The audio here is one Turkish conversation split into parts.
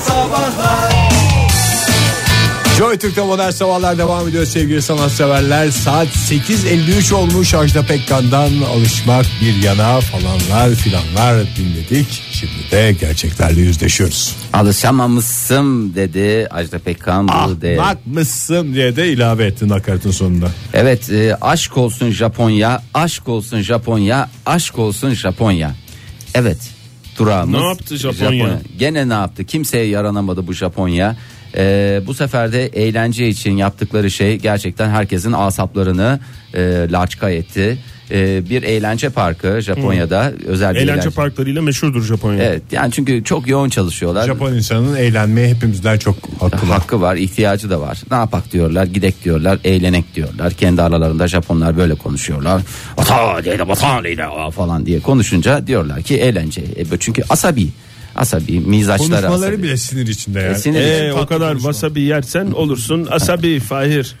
Sabahlar Joy Türk'te modern sabahlar devam ediyor sevgili sanatseverler. Saat 8.53 olmuş Ajda Pekkan'dan alışmak bir yana falanlar filanlar dinledik. Şimdi de gerçeklerle yüzleşiyoruz. Alışamamışsın dedi Ajda Pekkan. bu Ah, de- Ahmak mısın Ah, diye de ilave ettin nakaratın sonunda. Evet e, aşk olsun Japonya, aşk olsun Japonya, aşk olsun Japonya. Evet durağımız. Ne yaptı Japonya? Gene ne yaptı? Kimseye yaranamadı bu Japonya. E, bu sefer de eğlence için yaptıkları şey gerçekten herkesin asaplarını e, laçka etti. E, bir eğlence parkı Japonya'da özel bir Eğlence eğlence, parklarıyla meşhurdur Japonya. Evet yani çünkü çok yoğun çalışıyorlar. Japon insanının eğlenmeye hepimizden çok hakkı var. hakkı var, ihtiyacı da var. Ne yapak diyorlar, gidek diyorlar, eğlenek diyorlar. Kendi aralarında Japonlar böyle konuşuyorlar. Ata dedi, bata dedi falan diye konuşunca diyorlar ki eğlence. E, bu çünkü asabi. Asabi mizaçları Konuşmaları asabi. bile sinir içinde yani. E, sinir- Ee, Tatlı o kadar wasabi yersen olursun asabi Fahir.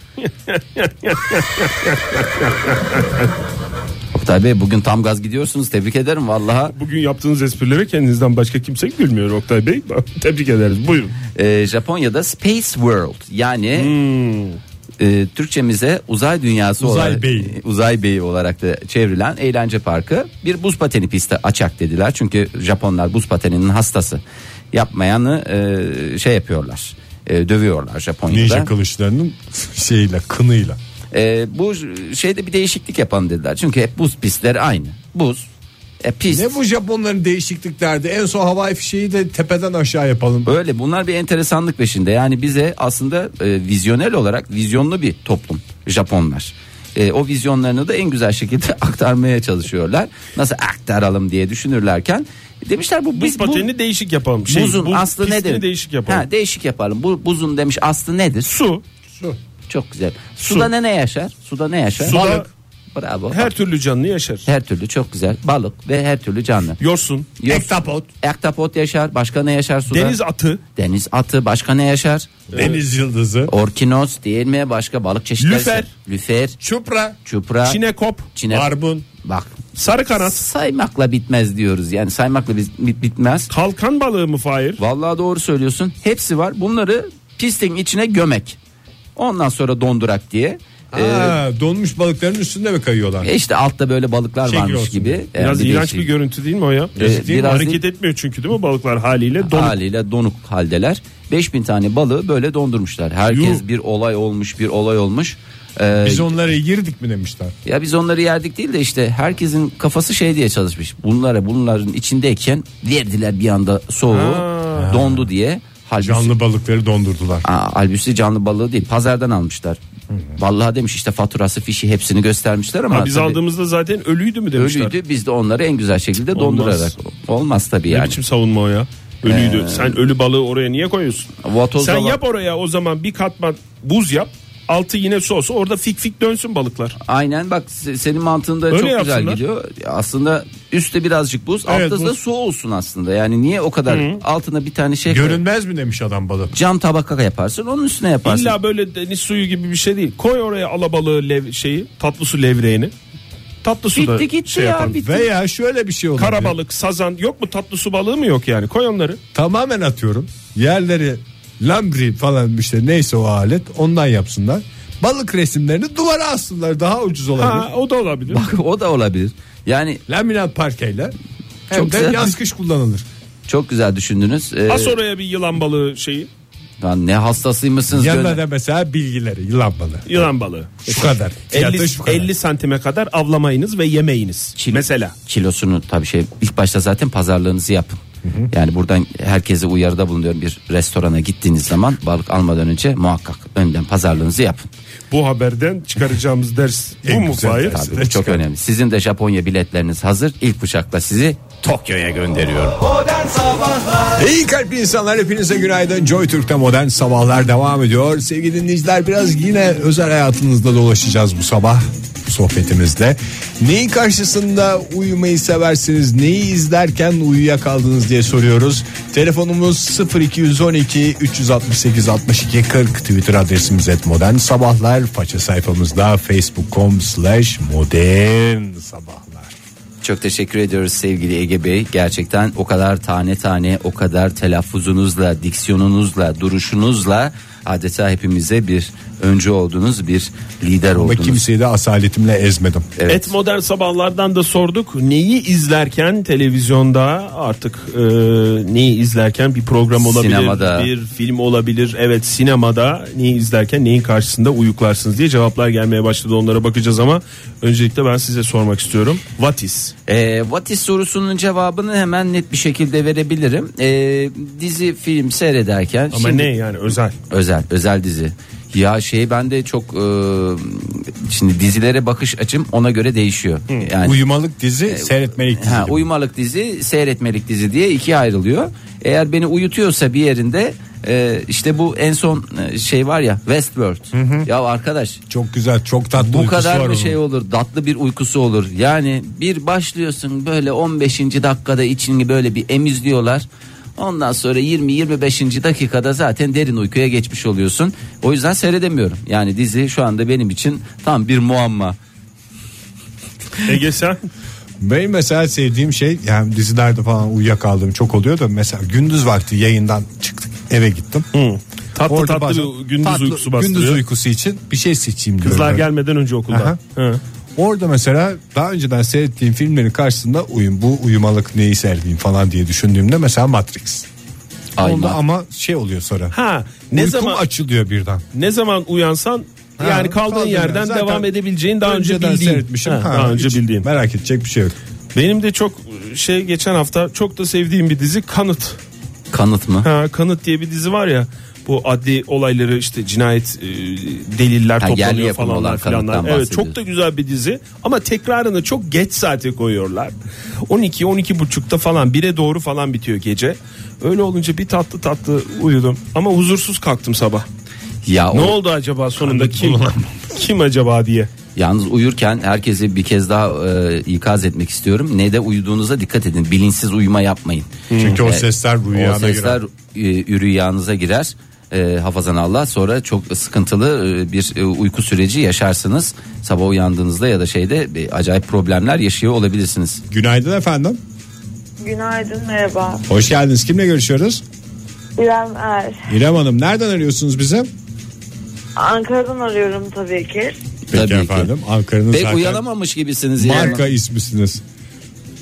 Oktay Bey bugün tam gaz gidiyorsunuz. Tebrik ederim vallahi. Bugün yaptığınız esprilere kendinizden başka kimse gülmüyor Oktay Bey. Tebrik ederiz. Buyurun. E, Japonya'da Space World yani e, Türkçemize uzay dünyası Hmm. Uzay olarak beyi. e, uzay beyi olarak da çevrilen eğlence parkı bir buz pateni pisti açak dediler. Çünkü Japonlar buz pateninin hastası. Yapmayanı e, şey yapıyorlar. e, dövüyorlar Japonya'da. Ninja kılıçlarının şeyiyle kınıyla. E, bu şeyde bir değişiklik yapalım dediler. Çünkü hep buz pistleri aynı. Buz e, pist. Ne bu Japonların değişikliklerdi? En son havai fişeği de tepeden aşağı yapalım. Öyle bunlar bir enteresanlık peşinde. Yani bize aslında e, vizyonel olarak vizyonlu bir toplum Japonlar. E, o vizyonlarını da en güzel şekilde aktarmaya çalışıyorlar. Nasıl aktaralım diye düşünürlerken demişler bu Buz biz pateni değişik yapalım. bu, Şey, buzun buz aslı pistini nedir? değişik yapalım. Ha, değişik yapalım. Bu buzun demiş aslı nedir? Su. Su. Çok güzel. Suda ne ne yaşar? Suda ne yaşar? Suda- Bravo. Her türlü canlı yaşar. her türlü çok güzel. Balık ve her türlü canlı. Yorsun. Yok. Ektapot yaşar. Başka ne yaşar suda? Deniz atı. Deniz atı. Başka ne yaşar? Deniz yıldızı. Orkinos değil mi? Başka balık çeşitleri. Lüfer. Lüfer, Çupra. çupra, Çinekop. çine- Barbun. Bak Sarı kanat. saymakla bitmez diyoruz. Yani saymakla biz- bit- bitmez. Kalkan balığı mı Fahir? Vallahi doğru söylüyorsun. Hepsi var. Bunları pistin içine gömek. Ondan sonra dondurak diye. Ee, e Ha, donmuş balıkların üstünde mi kayıyorlar? işte altta böyle balıklar Çekiyor varmış olsun. gibi. Yani şey, Biraz değişik- iğrenç bir görüntü değil mi o ya? Evet, Değil mi? biraz Hareket etmiyor çünkü değil mi balıklar haliyle? Donuk. haliyle donuk haldeler. 5000 tane balığı böyle dondurmuşlar. Herkes Yuh. bir olay olmuş, bir olay olmuş. Ee, Biz onlara girdik mi demişler. Ya biz onları yerdik değil de işte herkesin kafası şey diye çalışmış. Bunlara bunların içindeyken verdiler bir anda soğuğu dondu diye. Halbuki, Canlı balıkları dondurdular. Aa, halbuki canlı balığı değil pazardan almışlar. Vallahi demiş işte faturası fişi hepsini göstermişler ama Ha, biz tabii aldığımızda zaten ölüydü mü demişler. ölüydü biz de onları en güzel şekilde Olmaz. dondurarak. Olmaz tabii Ne yani. Ee, biçim savunma o ya? Ölüydü. Sen ölü balığı oraya niye koyuyorsun? Vatoz Sen da var. yap oraya o zaman bir katman buz yap. Altı yine su olsa orada fik fik dönsün balıklar. Aynen bak se- senin mantığında Öyle çok güzel yapsınlar. gidiyor. Aslında üstte birazcık buz, Evet, altta da buz. su olsun aslında. Yani niye o kadar altına bir tane şey Görünmez mi demiş adam balık. cam tabaka yaparsın, onun üstüne yaparsın. İlla böyle deniz suyu gibi bir şey değil. Koy oraya alabalığı lev şeyi, tatlı su levreğini. Tatlı su da Bitti gitti şey ya, yapalım. bitti. Veya şöyle bir şey olabilir. Karabalık, sazan yok mu tatlı su balığı mı yok yani? Koy onları. Tamamen atıyorum. Yerleri lambri falan işte neyse o alet ondan yapsınlar. Balık resimlerini duvara assınlar daha ucuz olabilir. Ha, o da olabilir. Bak o da olabilir. Yani Laminat parkeyle hem Çok de güzel. yaz kış kullanılır. çok güzel düşündünüz. Ee, As oraya bir yılan balığı şeyi. lan ne hastasıymışsınız. Yanına gönül. da mesela bilgileri yılan balığı. Yılan balığı. Şu kadar. 50, Fiyatı şu kadar. 50 santime kadar avlamayınız ve yemeyiniz. Kil- Mesela. Kilosunu tabii şey ilk başta zaten pazarlığınızı yapın. Yani buradan herkese uyarıda bulunuyorum bir restorana gittiğiniz zaman balık almadan önce muhakkak önden pazarlığınızı yapın. Bu haberden çıkaracağımız ders bu En mu güzel Fahir? ders. Tabii bu çok çıkar. önemli. Sizin de Japonya biletleriniz hazır. İlk uçakla sizi Tokyo'ya gönderiyorum. Modern Sabahlar İyi kalpli insanlar hepinize günaydın. Joy Türk'te modern sabahlar devam ediyor. Sevgili dinleyiciler biraz yine özel hayatınızda dolaşacağız bu sabah bu sohbetimizde. Neyin karşısında uyumayı seversiniz? Neyi izlerken uyuyakaldınız diye soruyoruz. Telefonumuz 0212 368 62 40 Twitter adresimiz et modern sabahlar. Faça sayfamızda facebook.com slash modern sabahlar. Çok teşekkür ediyoruz sevgili Ege Bey. Gerçekten o kadar tane tane, o kadar telaffuzunuzla, diksiyonunuzla, duruşunuzla adeta hepimize bir öncü oldunuz, bir lider Ama oldunuz. kimseyi de asaletimle ezmedim. Evet. Et modern sabahlardan da sorduk. Neyi izlerken televizyonda artık e, neyi izlerken bir program olabilir, Sinemada. bir film olabilir. Evet sinemada neyi izlerken neyin karşısında uyuklarsınız diye cevaplar gelmeye başladı. Onlara bakacağız ama öncelikle ben size sormak istiyorum. What is? Ee, what is sorusunun cevabını hemen net bir şekilde verebilirim. Ee, dizi, film seyrederken. Ama şimdi- ne yani özel. Özel, özel dizi. Ya şey ben de çok e, şimdi dizilere bakış açım ona göre değişiyor. Yani E, Uyumalık dizi, seyretmelik dizi. Ha, gibi. uyumalık dizi, seyretmelik dizi diye ikiye ayrılıyor. Eğer beni uyutuyorsa bir yerinde e, işte bu en son e, şey var ya Westworld. Ya arkadaş Çok güzel, çok tatlı bu uykusu var kadar bir onun. şey olur tatlı bir uykusu olur. Yani bir başlıyorsun böyle 15. dakikada içini böyle bir emizliyorlar. Ondan sonra 20-25. dakikada zaten derin uykuya geçmiş oluyorsun. O yüzden seyredemiyorum. Yani dizi şu anda benim için tam bir muamma. Ege sen Benim mesela sevdiğim şey yani dizilerde falan uyuyakaldığım çok oluyor da mesela gündüz vakti yayından çıktık eve gittim. tatlı Orada tatlı bazen- bir gündüz tatlı uykusu bastırıyor. Gündüz uykusu için bir şey seçeyim diyorum. Kızlar Ben. gelmeden önce okuldan. Aha. Hı. Orada mesela daha önceden seyrettiğim filmlerin karşısında uyum bu uyumalık neyi seyredeyim falan diye düşündüğümde mesela Matrix. Ay, Onda ma- ama şey oluyor sonra. Ha ne Uykum zaman açılıyor birden. ne zaman uyansan Ha, yani kaldığın kaldığın yer. yerden Zaten devam edebileceğin daha önce Önceden bildiğin. seyretmişim. Ha, Ha, daha önce hiç bildiğin. Merak edecek bir şey yok. Benim de çok şey geçen hafta çok da sevdiğim bir dizi Kanıt. kanıt mı? Ha, Kanıt diye bir dizi var ya bu adli olayları işte cinayet e, deliller Ha, yerli toplanıyor yapımı falanlar olan filanlar. Kanıt'tan Evet çok da güzel bir dizi ama tekrarını çok geç saate koyuyorlar. 12 12 buçukta falan 1'e doğru falan bitiyor gece. Öyle olunca bir tatlı tatlı uyudum ama huzursuz kalktım sabah. Ya Ne o- oldu acaba sonunda kim kim acaba diye. Yalnız uyurken herkese bir kez daha e, ikaz etmek istiyorum. Ne de uyuduğunuza dikkat edin. Bilinçsiz uyuma yapmayın. Çünkü o E, sesler rüyana o sesler girer. e, rüyanıza girer. E, hafazan Allah sonra çok sıkıntılı e, bir e, uyku süreci yaşarsınız. Sabah uyandığınızda ya da şeyde e, acayip problemler yaşıyor olabilirsiniz. Günaydın efendim. Günaydın merhaba. Hoş geldiniz. Kimle görüşüyoruz? İrem Er. İrem Hanım nereden arıyorsunuz bize? Ankara'dan arıyorum tabii ki. Peki Tabii ki. efendim. Ankara'nın Pek zaten uyanamamış gibisiniz yani. marka ismisiniz.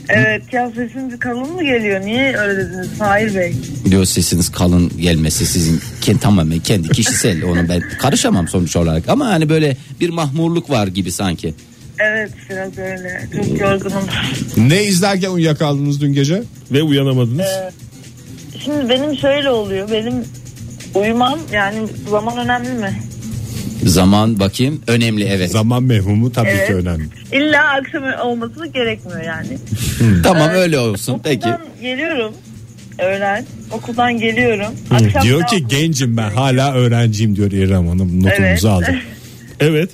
Evet ya sesiniz kalın mı geliyor? Niye öyle dediniz Fahir Bey? Diyor sesiniz kalın gelmesi sizin kendi, tamamen kendi kişisel onu ben karışamam sonuç olarak. Ama hani böyle bir mahmurluk var gibi sanki. Evet biraz öyle. Çok yorgunum. Ne izlerken uyuyakaldınız dün gece? Ve uyanamadınız. Şimdi benim şöyle oluyor. Benim uyumam yani zaman önemli mi? Zaman bakayım önemli evet. Zaman mevhumu tabii Evet. ki önemli. İlla akşam olması gerekmiyor yani. Tamam öyle olsun peki. Okuldan geliyorum öğlen. Okuldan geliyorum. Akşam Diyor daha- ki gencim ben hala öğrenciyim diyor İrem Hanım notumuzu Evet. aldı. Evet.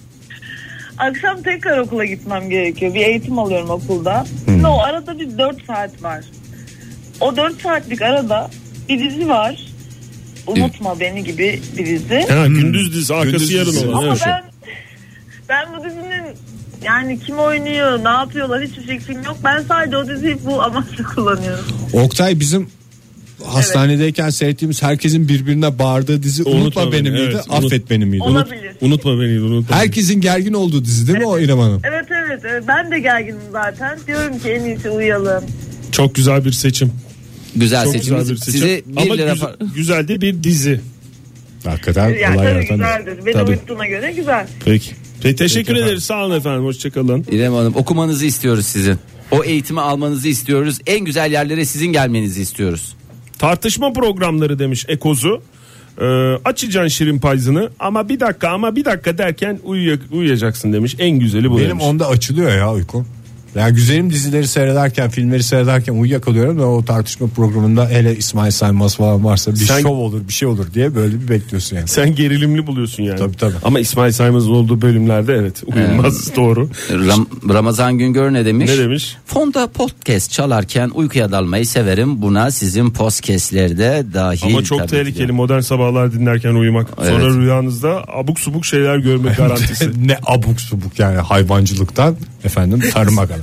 Akşam tekrar okula gitmem gerekiyor. Bir eğitim alıyorum okulda. Ve o arada bir 4 saat var. O 4 saatlik arada bir dizi var. Unutma beni gibi bir dizi. Hmm. Ha, gündüz dizi arkası Gündüz yarın dizisi. olan. Ama evet. ben ben bu dizinin yani kim oynuyor, ne yapıyorlar hiçbir fikrim yok. Ben sadece o diziyi bu amaçla kullanıyorum. Oktay bizim hastanedeyken seyrettiğimiz herkesin birbirine bağırdığı dizi Unutma, Unutma Beni Beni, miydi? evet. Affet Beni miydi? Olabilir. Unutma beni unutma. Herkesin gergin olduğu dizi değil mi o İrem Hanım? Evet, evet evet ben de gerginim zaten. Diyorum ki en iyisi uyuyalım. Çok güzel bir seçim. Güzel Çok seçim. güzel bir seçim. Size bir Ama lira güzel, fa- güzel de bir dizi. Hakikaten Yani kolay tabii yaratan dizi. güzeldir. Beni Tabii. uyuttuğuna göre güzel. Peki. teşekkür ederiz. Sağ olun efendim. Hoşçakalın. İrem Hanım okumanızı istiyoruz sizin. O eğitimi almanızı istiyoruz. En güzel yerlere sizin gelmenizi istiyoruz. Tartışma programları demiş Ekozu. Ee, açacaksın şirin payzını ama bir dakika ama bir dakika derken uyuya- uyuyacaksın demiş. En güzeli bu Benim demiş. onda açılıyor ya uykum. Yani güzelim dizileri seyrederken, filmleri seyrederken uyuyakalıyorum da o tartışma programında hele İsmail Saymaz falan varsa bir Sen- şov olur, bir şey olur diye böyle bir bekliyorsun yani. Sen gerilimli buluyorsun yani. Tabii, tabii. Ama İsmail Saymaz'ın olduğu bölümlerde evet uyumaz doğru. Ram- Ramazan Güngör ne demiş? Ne demiş? Fonda podcast çalarken uykuya dalmayı severim. Buna sizin podcastlerde dahil. Ama çok tabii ki tehlikeli diyor. modern sabahlar dinlerken uyumak. Sonra Evet. rüyanızda abuk subuk şeyler görmek garantisi. ne abuk subuk yani hayvancılıktan efendim tarıma kadar.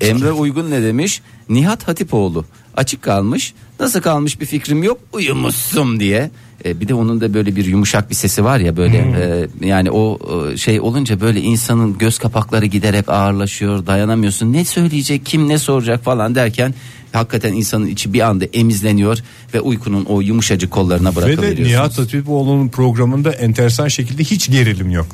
Emre Uygun ne demiş? Nihat Hatipoğlu açık kalmış. Nasıl kalmış bir fikrim yok. Uyumuşsun diye. E, bir de onun da böyle bir yumuşak bir sesi var ya böyle e, yani o e, şey olunca böyle insanın göz kapakları giderek ağırlaşıyor dayanamıyorsun ne söyleyecek kim ne soracak falan derken hakikaten insanın içi bir anda emizleniyor ve uykunun o yumuşacık kollarına Ve de bırakabiliyorsun. Nihat Hatipoğlu'nun programında enteresan şekilde hiç gerilim yok.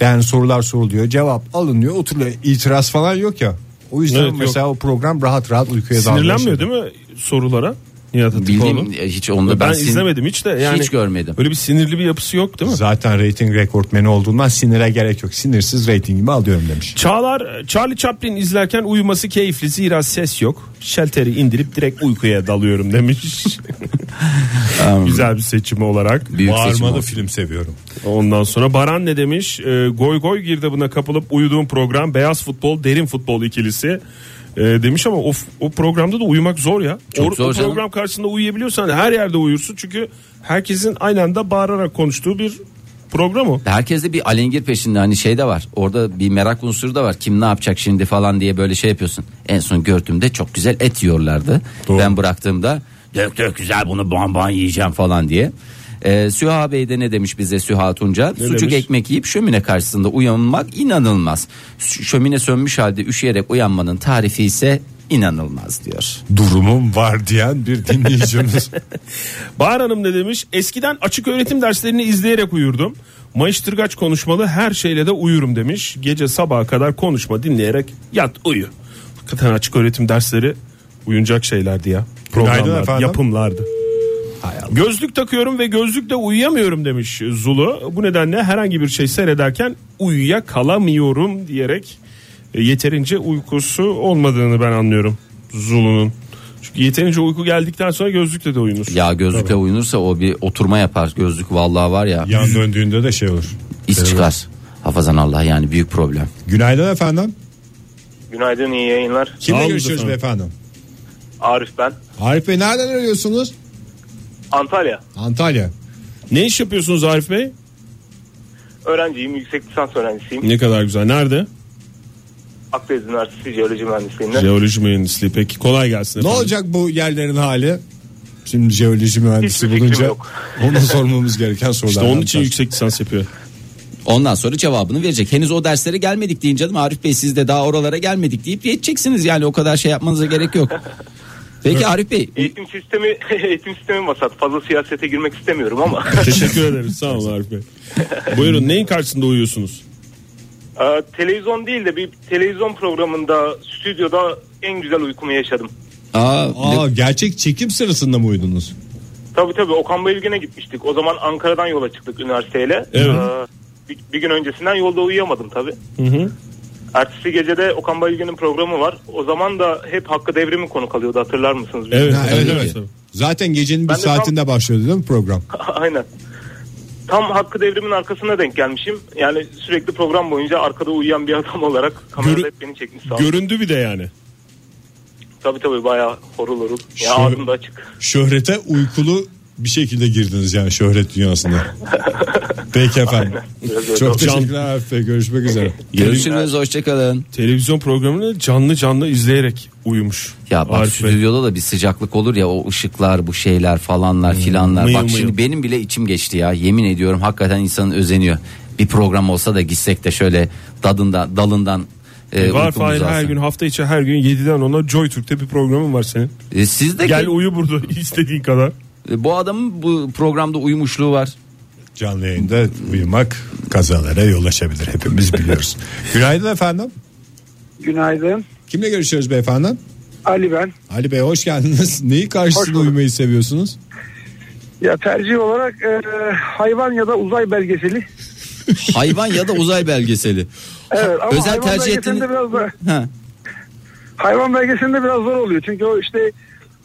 Yani sorular soruluyor, cevap alınıyor, oturuyor. İtiraz falan yok ya. O yüzden Evet, yok. mesela o program rahat rahat uykuya dalıyor. Sinirlenmiyor değil mi sorulara? Nihat Hatipoğlu. Bildiğim e, hiç onda Ben, ben, sin- izlemedim hiç de yani. hiç görmedim. Öyle bir sinirli bir yapısı yok değil mi? Zaten reyting rekortmeni olduğundan sinire gerek yok. Sinirsiz reytingimi alıyorum demiş. Çağlar Charlie Chaplin izlerken uyuması keyifli zira ses yok. Şelteri indirip direkt uykuya dalıyorum demiş. Güzel bir seçim olarak. Büyük seçim Bağırmalı oldu. film seviyorum. Ondan sonra Baran ne demiş? Ee, goy goy girdabına kapılıp uyuduğum program beyaz futbol derin futbol ikilisi. Ee, demiş ama o, f- o programda da uyumak zor ya. Çok o, zor o canım. program karşısında uyuyabiliyorsan her yerde uyursun çünkü herkesin aynı anda bağırarak konuştuğu bir program o. Herkes de bir alengir peşinde hani şey de var. Orada bir merak unsuru da var. Kim ne yapacak şimdi falan diye böyle şey yapıyorsun. En son gördüğümde çok güzel et yiyorlardı. Ben bıraktığımda dök dök güzel bunu ban ban yiyeceğim falan diye. Ee, Süha Bey de ne demiş bize Süha Tunca? Sucuk demiş? ekmek yiyip şömine karşısında uyanmak inanılmaz. Ş- Şömine sönmüş halde üşüyerek uyanmanın tarifi ise inanılmaz diyor. Durumum var diyen bir dinleyicimiz. Bahar Hanım ne demiş? Eskiden açık öğretim derslerini izleyerek uyurdum. Mayıştırgaç konuşmalı her şeyle de uyurum demiş. Gece sabaha kadar konuşma dinleyerek yat uyu. Hakikaten açık öğretim dersleri uyunacak şeylerdi ya. Programlar, efendim. yapımlardı. Gözlük takıyorum ve gözlükle uyuyamıyorum demiş Zulu. Bu nedenle herhangi bir şey seyrederken uyuyakalamıyorum diyerek e, yeterince uykusu olmadığını ben anlıyorum Zulu'nun. Çünkü yeterince uyku geldikten sonra gözlükle de uyunur. Ya gözlükle uyunursa o bir oturma yapar. Gözlük vallahi var ya Yan döndüğünde de şey olur. iç çıkar. Hafazan Allah yani büyük problem. Günaydın efendim. Günaydın iyi yayınlar. Kimle Sağ olun görüşüyoruz efendim. efendim? Arif ben. Arif Bey nereden arıyorsunuz? Antalya. Antalya. Ne iş yapıyorsunuz Arif Bey? Öğrenciyim. Yüksek lisans öğrencisiyim. Ne kadar güzel. Nerede? Akdeniz Üniversitesi Jeoloji Mühendisliğinden. Jeoloji mühendisliği. Peki kolay gelsin Ne efendim. olacak bu yerlerin hali? Şimdi jeoloji mühendisi Hiçbir fikrim bulunca yok. ona sormamız gereken sorular. İşte onun için yüksek lisans yapıyor. Ondan sonra cevabını verecek. Henüz o derslere gelmedik deyince canım Arif Bey siz de daha oralara gelmedik deyip geçeceksiniz. Yani o kadar şey yapmanıza gerek yok. Peki Arif Bey Eğitim sistemi eğitim sistemi vasat. Fazla siyasete girmek istemiyorum ama Teşekkür ederiz. Sağ olun Arif Bey. Buyurun neyin karşısında uyuyorsunuz? Ee, televizyon değil de bir televizyon programında stüdyoda en güzel uykumu yaşadım. aa, Aa, gerçek çekim sırasında mı uyudunuz? Tabii tabii Okan Bayülgen'e gitmiştik. O zaman Ankara'dan yola çıktık üniversiteyle. Evet. Ee, bir, bir gün öncesinden yolda uyuyamadım tabii. Ertesi gecede Okan Bayülgen'in programı var. O zaman da hep Hakkı Devrim'i konuk alıyordu hatırlar mısınız? Evet. Ha, evet, evet, evet. Zaten gecenin bir Ben de tam- saatinde başlıyordu değil mi program? Aynen. Tam Hakkı Devrim'in arkasına denk gelmişim. Yani sürekli program boyunca arkada uyuyan bir adam olarak kamerada Görü- hep beni çekmiş sağ olsun. Göründü bir de yani. Tabii tabii bayağı horul horul. Ya Şu- ağzım da açık. Şöhrete uykulu bir şekilde girdiniz yani şöhret dünyasına. Peki efendim. Biraz öyle Çok oldu. teşekkürler Arif Bey. Görüşmek üzere. görüşürüz hoşçakalın. Televizyon programını canlı canlı izleyerek uyumuş. Ya bak Arif Bey. stüdyoda da bir sıcaklık olur ya o ışıklar bu şeyler falanlar filanlar. Hmm, mıyım bak mıyım. şimdi benim bile içim geçti ya yemin ediyorum hakikaten insanın özeniyor. Bir program olsa da gitsek de şöyle dadından dalından e, Var uykumuzu Fahir her alsak. gün hafta içi her gün 7'den 10'a Joy Türk'te bir programın var senin. E, siz de Gel uyu burada istediğin kadar. e, bu adamın bu programda uyumuşluğu var. Canlı yayında uyumak kazalara yol açabilir hepimiz biliyoruz. Günaydın efendim. Günaydın. Kimle görüşüyoruz beyefendi? Ali ben. Ali Bey hoş geldiniz. Neyi Hoş karşısında bulduk. uyumayı seviyorsunuz? Ya tercih olarak e, hayvan ya da uzay belgeseli. Hayvan ya da uzay belgeseli. Evet ama Özel hayvan tercih belgeselinde ettiğini- biraz da Ha. hayvan belgeselinde biraz zor oluyor. Çünkü o işte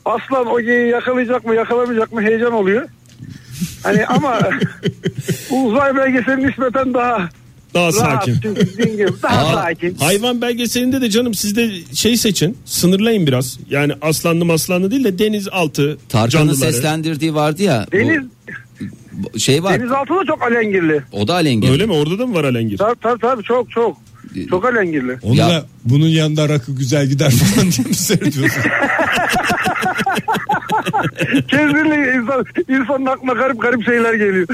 aslan o geyiği yakalayacak mı yakalamayacak mı heyecan oluyor. Hani ama uzay belgeseli nispeten daha Daha rahat. sakin. Çünkü dediğim gibi daha Aa, sakin. Hayvan belgeselinde de canım siz de şey seçin sınırlayın biraz. Yani aslanlı maslanlı değil de denizaltı Tarkan'ın canlıları. seslendirdiği vardı ya. bu- Deniz, bu şey var. denizaltı da çok alengirli. O da alengir. Öyle mi orada da mı var alengir? Tabii tabii tabii çok çok. Çok alengirli. Onu Ya- da bunun yanında rakı güzel gider falan diye mi seyrediyorsun? Kesinlikle insan, insanın aklına garip garip şeyler geliyor.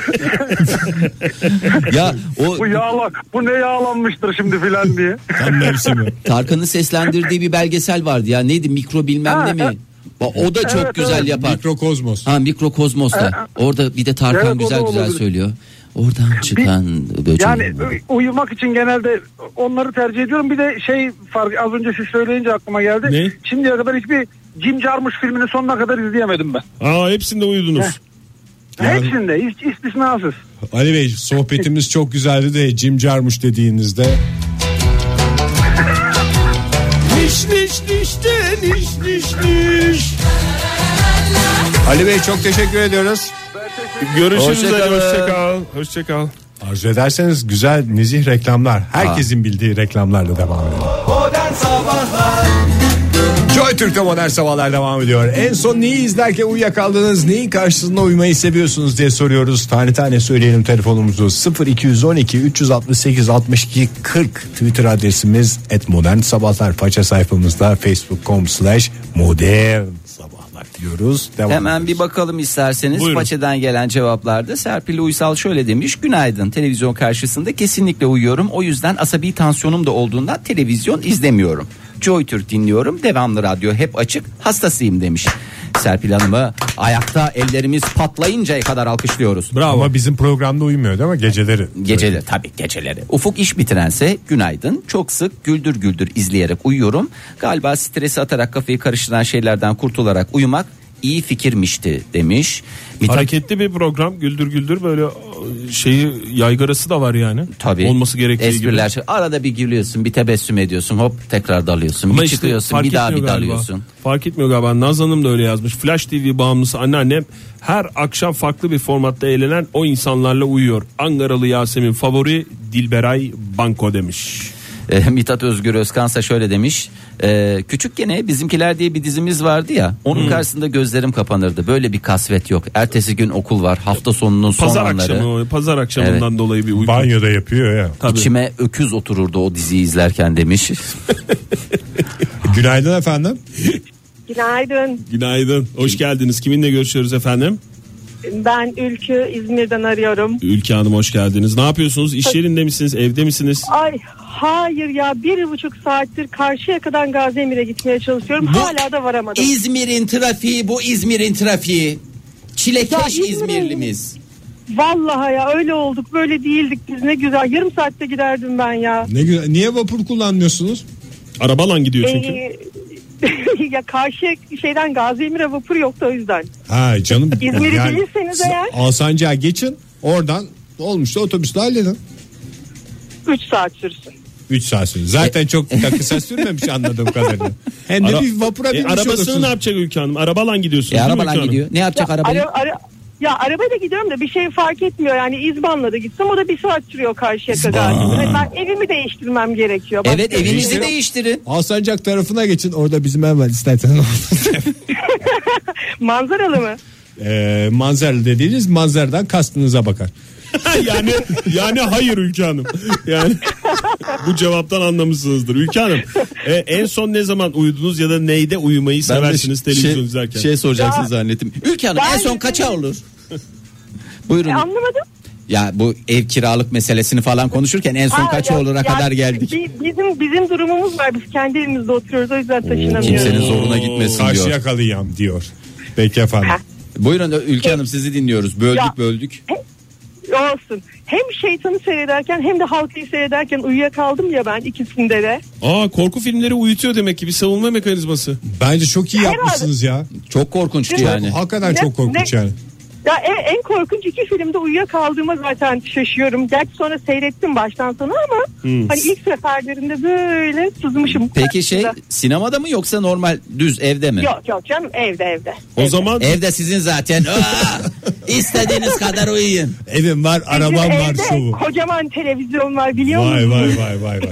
ya o bu yağla, bu ne yağlanmıştır şimdi filan diye. Tam mevsimi. Tarkan'ın seslendirdiği bir belgesel vardı ya neydi mikro bilmem ne mi? Ba- O da çok güzel yapar. Mikrokozmos. Ha mikrokozmos'ta. Orada bir de Tarkan Evet, o da güzel güzel olabilir. söylüyor. Oradan çıkan böcek. Yani uyumak için genelde onları tercih ediyorum. Bir de şey fark az önce siz söyleyince aklıma geldi. Ne? Şimdiye kadar hiçbir Jim Jarmusch filmini sonuna kadar izleyemedim ben. Aa hepsinde uyudunuz. Yani- Hepsinde hiç istisnasız. Ali Bey sohbetimiz çok güzeldi de Jim Jarmusch dediğinizde Niş niş niş de niş niş niş. Ali Bey çok teşekkür ediyoruz. Görüşürüz Hoşça hadi kalın. hoşça kal. Hoşça kal. Arzu ederseniz güzel nezih reklamlar. Herkesin bildiği reklamlarla devam edelim. Modern Sabahlar Joy Türk'te modern sabahlar devam ediyor. En son neyi izlerken uyuyakaldınız, neyin karşısında uyumayı seviyorsunuz diye soruyoruz. Tane tane söyleyelim telefonumuzu 0212 368 62 40 Twitter adresimiz et modern sabahlar faça sayfamızda facebook.com slash modern sabahlar diyoruz. Devam Hemen ediyoruz. bir bakalım isterseniz Buyurun. Façeden gelen cevaplarda Serpil Uysal şöyle demiş Günaydın televizyon karşısında kesinlikle uyuyorum O yüzden asabi tansiyonum da olduğundan televizyon izlemiyorum Joy Türk dinliyorum devamlı radyo hep açık hastasıyım demiş Serpil Hanım'ı ayakta ellerimiz patlayıncaya kadar alkışlıyoruz Bravo. Ama bizim programda uyumuyor değil mi? Geceleri. Geceleri tabii geceleri. Ufuk iş bitirense günaydın. Çok sık güldür güldür izleyerek uyuyorum. Galiba stresi atarak kafayı karıştıran şeylerden kurtularak uyumak iyi fikirmişti demiş. Bir ta- Hareketli bir program güldür güldür böyle e, şeyi yaygarası da var yani. tabii Olması gerektiği espriler. gibi. şey- Arada bir gülüyorsun, bir tebessüm ediyorsun. Hop tekrar dalıyorsun. Ama bir işte çıkıyorsun, fark bir daha bir etmiyor galiba. dalıyorsun. Fark etmiyor galiba. Naz Hanım da öyle yazmış. Flash TV bağımlısı anneannem her akşam farklı bir formatta eğlenen o insanlarla uyuyor. Angaralı Yasemin favori Dilberay Banko demiş. E, Mithat Özgür Özkansa şöyle demiş. E, küçük gene bizimkiler diye bir dizimiz vardı ya. Onun Hmm. karşısında gözlerim kapanırdı. Böyle bir kasvet yok. Ertesi gün okul var. Hafta sonunun son Pazar anları. akşamı o, pazar akşamından dolayı bir uyku. Banyoda yapıyor ya. Tabii. İçime öküz otururdu o diziyi izlerken demiş. Günaydın efendim. Günaydın. Günaydın. Hoş geldiniz. Kiminle görüşüyoruz efendim? Ben Ülkü İzmir'den arıyorum. Ülke Hanım hoş geldiniz. Ne yapıyorsunuz? İş yerinde misiniz? Evde misiniz? Ay hayır ya bir buçuk saattir Karşıyaka'dan Gaziemir'e gitmeye çalışıyorum. Hala da varamadım. İzmir'in trafiği bu İzmir'in trafiği. Ya Çilekeş İzmir'in- İzmirlimiz. Vallahi ya öyle olduk böyle değildik biz ne güzel. Yarım saatte giderdim ben ya. Ne güzel. Niye vapur kullanmıyorsunuz? Arabalan gidiyor çünkü. Ee, ya karşı şeyden Gaziemir'e vapur yoktu o yüzden. Ha canım. İzmir'i bilirseniz siz eğer. Alsancak'a geçin. Oradan olmuşsa otobüsle halledin. 3 saat sürsün. 3 saat sürdü. E, Zaten çok da kısa sürmemiş anladığım kadarıyla. Hem de Ara- bir vapura E, binmiş arabasını olursunuz. ne yapacak Ülke Hanım? Arabalan gidiyorsunuz. E, değil mi arabadan Ülke Hanım? gidiyor. Ne yapacak arabayı? Ara, ara, ya arabayla gidiyorum da bir şey fark etmiyor yani İzban'la da gitsem o da bir saat sürüyor Karşıyaka Gaziemir'e. Ben evimi değiştirmem gerekiyor. Başka Evet bir şey evinizi yok. değiştirin. Alsancak tarafına geçin. Orada bizim hemen isterseniz. Manzaralı mı? Eee manzara E, dediğiniz manzaradan kastınıza bakar. yani yani hayır Ülke Hanım. Yani bu cevaptan anlamışsınızdır Ülke Hanım. e, en son ne zaman uyudunuz ya da neyde uyumayı seversiniz televizyon izlerken? soracaksınız şey- zannettim. Ülke Hanım Ben- en son kaça olur? Buyurun. E, anlamadım. ya bu ev kiralık meselesini falan konuşurken en son Aa, kaça ya- olur'a ya kadar geldik. bi- Bizim bizim durumumuz var. Biz kendi evimizde oturuyoruz o yüzden taşınamıyoruz. Kimsenin zoruna gitmesin Karşı diyor. yakalıyam diyor. Peki efendim. Buyurun Ülke Hanım sizi dinliyoruz. Böldük Şey- Ya- böldük. Olsun. Hem şeytanı seyrederken hem de halkayı seyrederken uyuyakaldım ya ben ikisinde de. Aa korku filmleri uyutuyor demek ki bir savunma mekanizması. Bence çok iyi Herhalde. yapmışsınız ya. Çok korkunçtu yani. Hakikaten Ne- çok korkunç ne- yani. Ya e, en, en korkunç iki filmde uyuyakaldığıma zaten şaşıyorum. Gerçi sonra seyrettim baştan sona ama hani ilk seferlerinde böyle sızmışım. Peki şey sinemada mı yoksa normal düz evde mi? Yok yok canım evde evde. O zaman Evde sizin zaten. Aa, istediğiniz kadar uyuyun. Evim var, arabam Bizim var evde şovu. Kocaman televizyon var biliyor Vay musun? vay vay vay vay.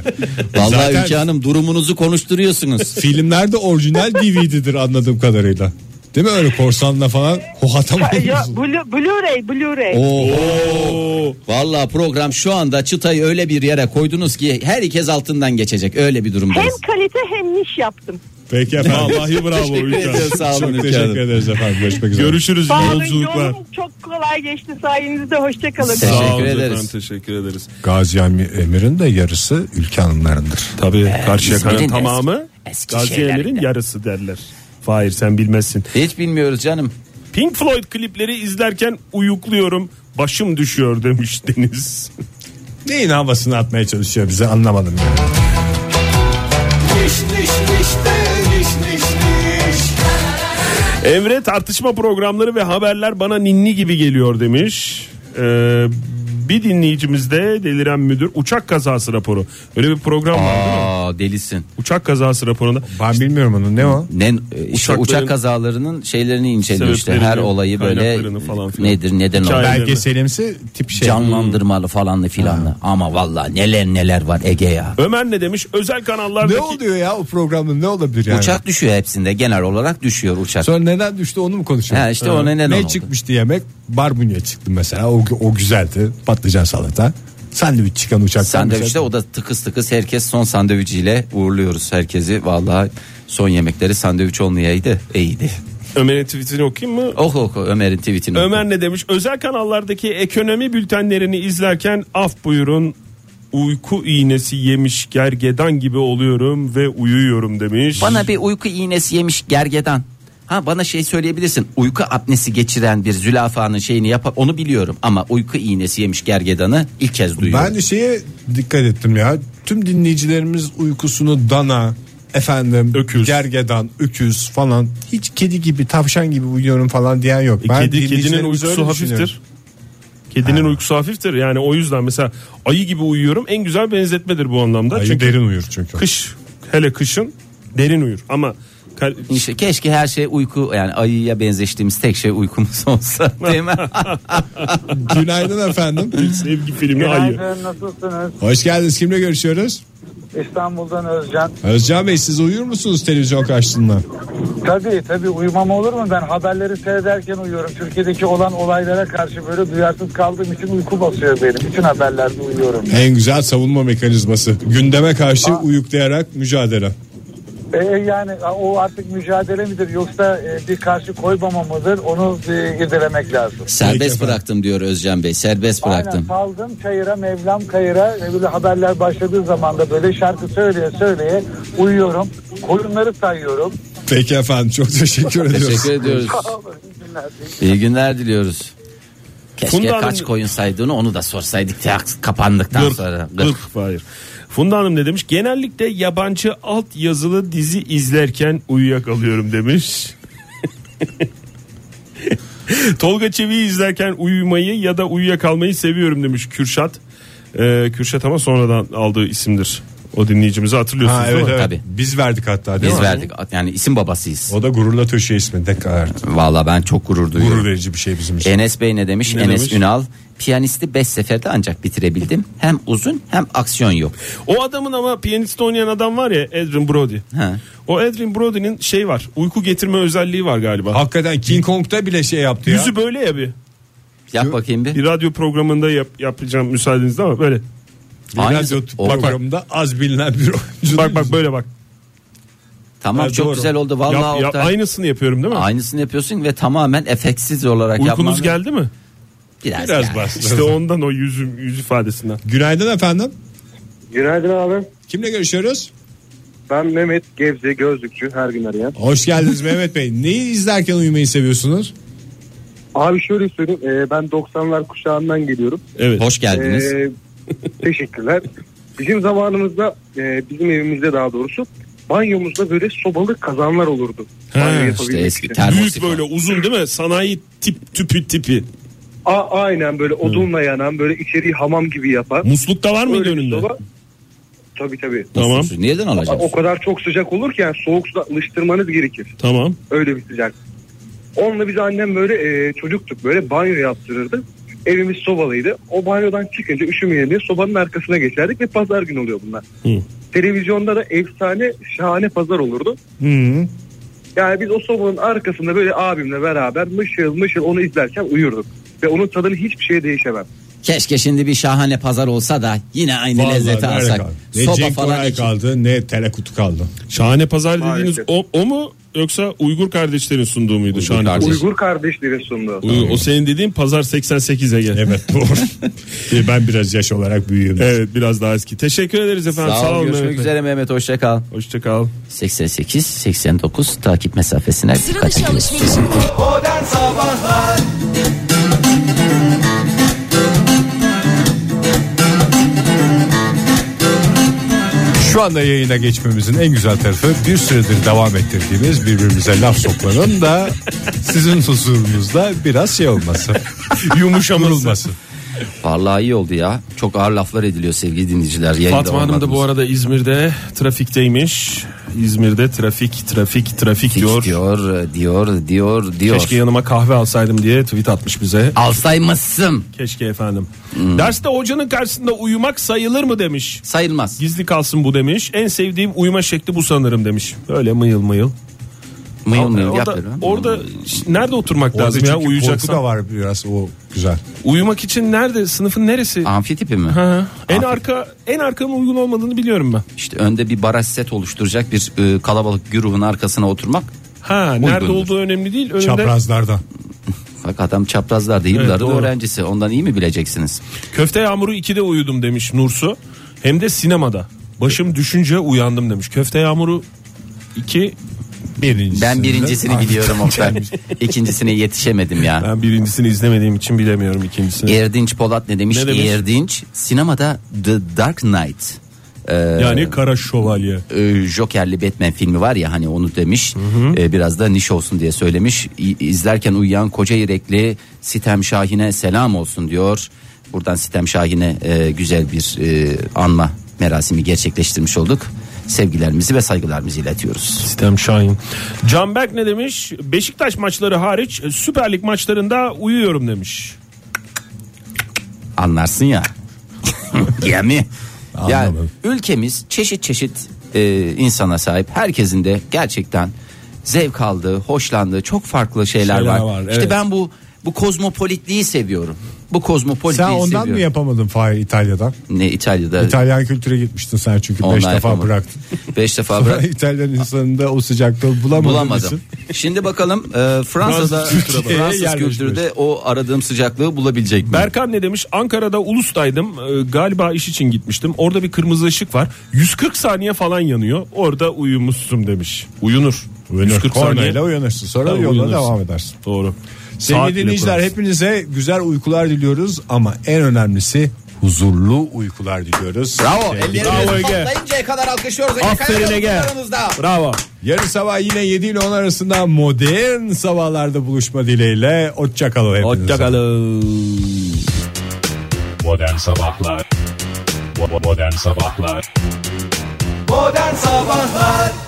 E Vallahi Zaten- Ülke Hanım durumunuzu konuşturuyorsunuz. Filmlerde orijinal DVD'dir anladığım kadarıyla. Değil mi öyle korsanla falan Ya, hohatamayız. Blu- Blu-ray, Blu-ray. Oo. Valla program şu anda çıtayı öyle bir yere koydunuz ki herkes altından geçecek. Öyle bir durumdayız. Hem kalite hem niş yaptım. Peki efendim. Vallahi bravo Teşekkür Ülker. ediyorum, sağ olun Çok Ülker teşekkür Hanım. ederiz efendim. Görüşmek üzere. Görüşürüz Sağ iyi olun yolculuklar. yolum çok kolay geçti sayenizde. Hoşçakalın. Teşekkür Sağ olun ederiz. efendim, teşekkür ederiz. Gazi Emir'in de yarısı ülke hanımlarındır. Tabii karşı İzmir'in yakanın eski- tamamı eski Gazi şeylerinde. Emir'in yarısı derler. Fahir sen bilmezsin. Hiç bilmiyoruz canım. Pink Floyd klipleri izlerken uyukluyorum. Başım düşüyor demiş Deniz. Neyin havasını atmaya çalışıyor bize anlamadım yani. Niş niş niş de niş niş niş. Emre tartışma programları ve haberler bana ninni gibi geliyor demiş. Ee, bir dinleyicimiz de deliren müdür uçak kazası raporu. Öyle bir program var değil mi? Aa delisin. Uçak kazası raporunda. Ben bilmiyorum onu ne o? Ne, e, işte Uçakların- uçak kazalarının şeylerini inceliyor işte. Sebeplerini, Her olayı böyle kaynaklarını falan filan. nedir neden Hikaye- oldu. Belgeselimsi tip şey. Canlandırmalı falanlı filanlı. Ama valla neler neler var Ege ya. Ömer ne demiş? Özel kanallardaki... Ne oluyor ya o programda ne olabilir yani? Uçak düşüyor hepsinde genel olarak düşüyor uçak. Sonra neden düştü onu mu konuşalım? Ha, işte o neden ne oldu? çıkmıştı yemek? Barbunya çıktı mesela. O, o güzeldi. Patlıcan salata. Sandviç çıkan uçaktan. Sandviçte güzel. o da tıkıs tıkıs herkes son sandviçiyle uğurluyoruz herkesi. Vallahi son yemekleri sandviç olmayaydı iyiydi. Ömer'in tweetini okuyayım mı? Oku oku Ömer'in tweetini oku. Ömer ne demiş? Özel kanallardaki ekonomi bültenlerini izlerken af buyurun uyku iğnesi yemiş gergedan gibi oluyorum ve uyuyorum demiş. Bana bir uyku iğnesi yemiş gergedan. Ha bana şey söyleyebilirsin. Uyku apnesi geçiren bir zülafanın şeyini yap onu biliyorum ama uyku iğnesi yemiş gergedanı ilk kez duyuyorum. Ben de şeye dikkat ettim ya. Tüm dinleyicilerimiz uykusunu dana, efendim Öküz. gergedan, öküz falan hiç kedi gibi tavşan gibi uyuyorum falan diyen yok. E, Ben kedi kedinin dinleyicilerimiz öyle uykusu düşünüyorum. hafiftir. Kedinin uykusu hafiftir. Yani o yüzden mesela ayı gibi uyuyorum. En güzel benzetmedir bu anlamda. Ayı Çünkü derin uyur çünkü. kış hele kışın derin uyur ama kar- İşte keşke her şey uyku yani ayıya benzeştiğimiz tek şey uykumuz olsa değil mi? Günaydın efendim. sevgi filmi ayı. Günaydın nasılsınız? Hoş geldiniz. Kimle görüşüyoruz? İstanbul'dan Özcan. Özcan Bey siz uyur musunuz televizyon karşısında? Tabii tabii uyumam olur mu? Ben haberleri seyrederken uyuyorum. Türkiye'deki olan olaylara karşı böyle duyarsız kaldığım için uyku basıyor benim. Bütün haberlerde uyuyorum. En güzel savunma mekanizması. Gündeme karşı uyuklayarak mücadele. E, e, yani a, o artık mücadele midir yoksa e, bir karşı koymama mıdır onu e, irdelemek lazım. Peki serbest efendim. bıraktım diyor Özcan Bey. Serbest Aynen bıraktım. saldım çayıra mevlam kayıra E, böyle haberler başladığı zaman da böyle şarkı söyleye söyleye uyuyorum. Koyunları sayıyorum. Peki efendim çok teşekkür ediyoruz. Teşekkür ediyoruz. İyi günler diliyoruz. Keşke Funda Hanım- kaç koyun saydığını onu da sorsaydık ya kapandıktan Gırk, sonra. Gırk. gırk, hayır. Funda Hanım ne demiş? Genellikle yabancı alt yazılı dizi izlerken uyuyakalıyorum demiş. Tolga Çevi'yi izlerken uyumayı ya da uyuyakalmayı seviyorum demiş Kürşat. Ee, Kürşat ama sonradan aldığı isimdir. O dinleyicimizi hatırlıyorsunuz Ha, değil evet, mi? evet. Tabii. Biz verdik hatta değil Biz mi? verdik yani isim babasıyız. O da gururla töşe ismi. Ne kadar Vallahi ben çok gurur duyuyorum. gurur verici bir şey bizim için. Enes Bey ne demiş? Ne Enes demiş? Ünal. Piyanisti 5 seferde ancak bitirebildim. Hem uzun hem aksiyon yok. O adamın ama piyanist oynayan adam var ya Adrian Brody. Ha. O Adrian Brody'nin şey var. Uyku getirme özelliği var galiba. Hakikaten King Kong'da bile şey yaptı ya. Yüzü böyle ya bir. Yap bakayım bir. Bir radyo programında yap, yapacağım müsaadenizle ama böyle. Biraz Aynısı- YouTube Olur. programında az bilinen bir oyuncu. Bak bak böyle bak. Tamam Ha, çok doğru. güzel oldu vallahi Yap- yap- Oktay. aynısını yapıyorum değil mi? Aynısını yapıyorsun ve tamamen efeksiz olarak yapman. Uykunuz geldi mi? Biraz, Biraz geldi. bastı. İşte ondan o yüzüm yüz ifadesinden. Günaydın efendim. Günaydın abi. Kimle görüşüyoruz? Ben Mehmet Gebze gözlükçü her gün arayan. Hoş geldiniz Mehmet Bey. Neyi izlerken uyumayı seviyorsunuz? Abi şöyle söyleyeyim e, ben 90'lar kuşağından geliyorum. Evet. Hoş geldiniz. Ee, E, teşekkürler. Bizim zamanımızda e, bizim evimizde daha doğrusu banyomuzda böyle sobalı kazanlar olurdu. Banyo yapabilmek işte eski için. termos Büyük ifade. böyle uzun değil mi? Sanayi tip tüpü tipi. A- aynen böyle odunla yanan böyle içeriği hamam gibi yapan. Musluk da var mıydı Öyle bir önünde? soba. Tabii tabii. Tamam. Mutsuzsun. Nereden A- alacağız? O kadar çok sıcak olur ki yani soğuk suda alıştırmanız gerekir. Tamam. Öyle bir sıcak. Onunla biz annem böyle e, çocuktuk böyle banyo yaptırırdı. Evimiz sobalıydı. O banyodan çıkınca üşümeyelim diye sobanın arkasına geçerdik ve pazar günü oluyor bunlar. Hı. Televizyonda da efsane şahane pazar olurdu. Yani biz o sobanın arkasında böyle abimle beraber mışıl mışıl onu izlerken uyurduk. Ve onun tadını hiçbir şeye değişemem. Keşke şimdi bir şahane pazar olsa da yine aynı Vallahi lezzeti nerede alsak. kaldı? Ne Soba Cenk falan. Koray için. kaldı ne telekutu kaldı. Şahane pazar dediğiniz Maalesef. o, o mu yoksa Uygur kardeşlerin sunduğu muydu şahane kardeş. pazar? Uygur kardeşlerin sundu. Uy- o senin dediğin pazar 88'e gel. Evet doğru. Ee, ben biraz yaş olarak büyüğüm. Evet biraz daha eski. Teşekkür ederiz efendim. Sağ ol. Görüşmek Mehmet Bey. üzere Mehmet. Hoşça kal. Hoşça kal. 88, 89 takip mesafesine Sıra dikkat dışı edin. alışverişin Modern Sabahlar Şu anda yayına geçmemizin en güzel tarafı bir süredir devam ettirdiğimiz birbirimize laf sokmanın da sizin huzurunuzda biraz şey olması. Yumuşaması. Vallahi iyi oldu ya. Çok ağır laflar ediliyor sevgili dinleyiciler. Yayında Fatma Hanım da bu olmadığımız- arada İzmir'de trafikteymiş. İzmir'de trafik trafik trafik diyor diyor. diyor diyor diyor diyor. Keşke yanıma kahve alsaydım diye tweet atmış bize. Alzheimer'sın Keşke efendim. Hmm. Derste hocanın karşısında uyumak sayılır mı demiş. sayılmaz. Gizli kalsın bu demiş. En sevdiğim uyuma şekli bu sanırım demiş. Öyle mıyıl mıyıl. Mıyıl Ama mıyıl orada, yapıyor. lan. orada ş- nerede oturmak Orada lazım ya çünkü korku da uyuyacaksan? var biraz o güzel. Uyumak için nerede? Sınıfın neresi? Amfi tipi mi? Hı hı. En Amfi- arka en arkanın uygun olmadığını biliyorum ben. İşte önde bir baraj set oluşturacak bir e, kalabalık güruhun arkasına oturmak. Ha nerede Uygundur. olduğu önemli değil. Önünde Çaprazlardan. Bak adam çaprazlarda yılların doğru. öğrencisi. Ondan iyi mi bileceksiniz? Köfte Yağmuru 2'de uyudum demiş Nursu. Hem de sinemada. Başım düşünce uyandım demiş. Köfte Yağmuru 2 Birincisi. Ben birincisini biliyorum Oktay. İkincisine yetişemedim ya. ben birincisini izlemediğim için bilemiyorum ikincisini. Erdinç Polat ne demiş? Ne demiş? Erdinç sinemada The Dark Knight yani Kara Şövalye. e, Joker'li Batman filmi var ya hani onu demiş. E, biraz da niş olsun diye söylemiş. İ- İzlerken uyuyan koca yürekli Sitem Şahin'e selam olsun diyor. Buradan Sitem Şahin'e e, güzel bir e, anma merasimi gerçekleştirmiş olduk. Sevgilerimizi ve saygılarımızı iletiyoruz. Sistem Şahin. Canberk ne demiş? Beşiktaş maçları hariç Süper Lig maçlarında uyuyorum demiş. Anlarsın ya. ya mi? Ya Anlamadım. ülkemiz çeşit çeşit e, insana sahip. Herkesin de gerçekten zevk aldığı, hoşlandığı çok farklı şeyler, Şeyler var. var, İşte evet. ben bu bu kozmopolitliği seviyorum. Bu kozmopolitliği Sen ondan seviyorum. mı yapamadın Fahir İtalya'dan? Ne İtalya'da İtalyan kültüre gitmiştin sen çünkü Ondan 5 defa yapamadım. bıraktın. beş defa Sonra bırak İtalyan insanında o sıcaklığı bulamadın. bulamadım. Şimdi bakalım e, Fransa'da Fransız kültürü. Fransız Yerleşmiş. kültürde o aradığım sıcaklığı bulabilecek mi? Berkan ne demiş? Ankara'da Ulus'taydım. Ee, galiba iş için gitmiştim. Orada bir kırmızı ışık var. 140 saniye falan yanıyor. Orada uyumuşsun demiş. Uyunur. Uyanır. 140 Kornayla saniye. uyanırsın. Sonra Ha, yoluna uyanırsın. devam edersin. Doğru. Saat Sevgili bile dinleyiciler kurarsın. hepinize güzel uykular diliyoruz ama en önemlisi huzurlu uykular diliyoruz. Bravo. Sevgili- Bravo Ellerimizi Ege. toplayıncaya kadar alkışlıyoruz. Ege Aferin Kayacan'ın Ege. aranızda. Bravo. Yarın sabah yine 7 ile 10 arasında modern sabahlarda buluşma dileğiyle. Hoşçakalın hepinize. Hoşçakalın. Modern Sabahlar Bo- bo- Modern Sabahlar Modern Sabahlar